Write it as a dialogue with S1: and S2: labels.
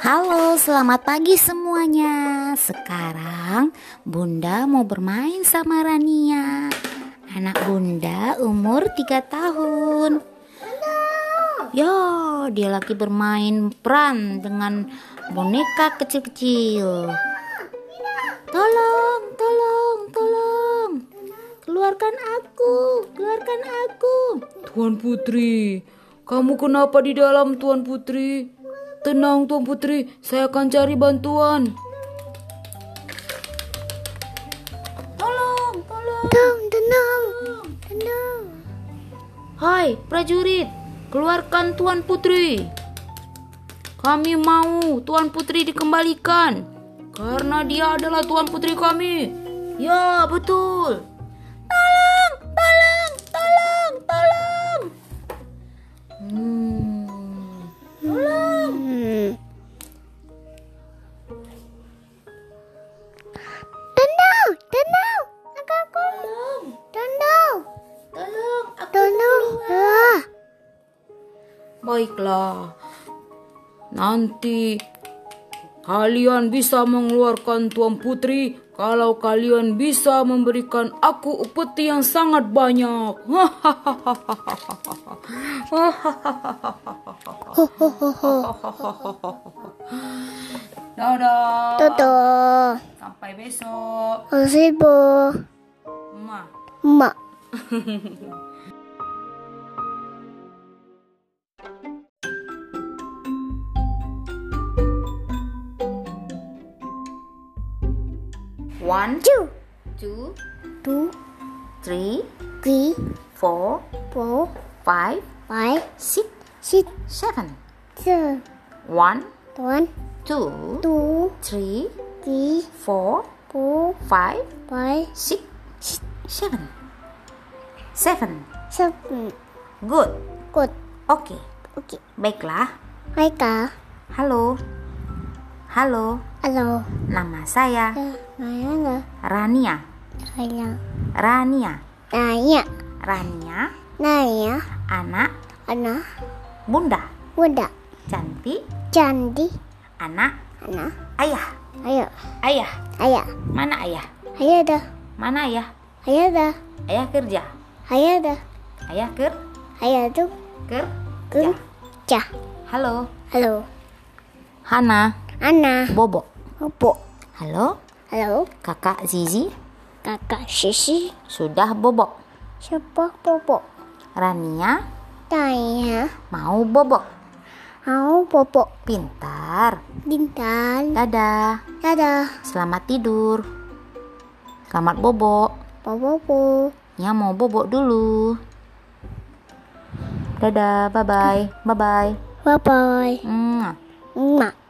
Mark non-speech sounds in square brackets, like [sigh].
S1: Halo, selamat pagi semuanya. Sekarang Bunda mau bermain sama Rania. Anak Bunda umur 3 tahun. Ya, dia lagi bermain peran dengan boneka kecil-kecil. Tolong, tolong, tolong. Keluarkan aku, keluarkan aku.
S2: Tuan Putri, kamu kenapa di dalam Tuan Putri? Tenang Tuan Putri, saya akan cari bantuan.
S1: Tolong, tolong.
S3: Tenang, tenang, tenang.
S2: Hai prajurit, keluarkan Tuan Putri. Kami mau Tuan Putri dikembalikan karena dia adalah Tuan Putri kami. Ya, betul.
S1: Tolong, tolong, tolong. Hmm.
S3: Hmm. Tenang, tenang. Agak tolong. Tenang.
S1: Tolong, aku
S3: Tenang. Ah.
S2: Baiklah. Nanti kalian bisa mengeluarkan Tuan Putri kalau kalian bisa memberikan aku upeti yang sangat banyak. [laughs]
S3: Ho ho ho ho.
S2: Dadah.
S3: Toto.
S2: Sampai besok.
S3: Osibo.
S2: Emak.
S3: Mak.
S1: One,
S3: Two.
S1: two,
S3: Two.
S1: three,
S3: Three.
S1: four,
S3: Four.
S1: five,
S3: Five.
S1: six,
S3: Six.
S1: seven.
S3: Seven.
S1: One,
S3: One.
S1: two,
S3: Two.
S1: three,
S3: Three.
S1: four,
S3: Four.
S1: five,
S3: Five.
S1: six, seven. Seven.
S3: Seven.
S1: Good.
S3: Good.
S1: Oke.
S3: Okay.
S1: Baiklah.
S3: Hai kak.
S1: Halo. Halo.
S3: Halo.
S1: Nama saya
S3: Ya, Mana?
S1: Rania.
S3: Halo.
S1: Rania.
S3: Naya.
S1: Rania,
S3: Naya.
S1: anak
S3: Anak.
S1: bunda.
S3: Muda.
S1: Cantik,
S3: Candi.
S1: anak
S3: Anak.
S1: ayah.
S3: Ayo.
S1: Ayah.
S3: Ayah.
S1: Mana ayah?
S3: Ayo dah.
S1: Mana ayah?
S3: Ayo dah.
S1: Ayah kerja.
S3: Ayo dah.
S1: Ayah ker
S3: Ayo tuh.
S1: ker.
S3: Kun. Cah.
S1: Halo.
S3: Halo.
S1: Hana,
S3: Ana.
S1: Bobo.
S3: Opo.
S1: Halo,
S3: Halo.
S1: Kakak Zizi
S3: Kakak Sisi.
S1: sudah Bobo.
S3: Siapa ya? Popo?
S1: Rania
S3: Naya.
S1: mau Bobo.
S3: Mau Popo.
S1: Pintar.
S3: Bintang.
S1: Dadah.
S3: Dadah.
S1: Selamat tidur. Selamat Bobo.
S3: Popo. Popo.
S1: Nya Ya, mau bobok dulu. Dadah, bye bye, bye bye.
S3: Bye bye.
S1: Hmm.
S3: Mak.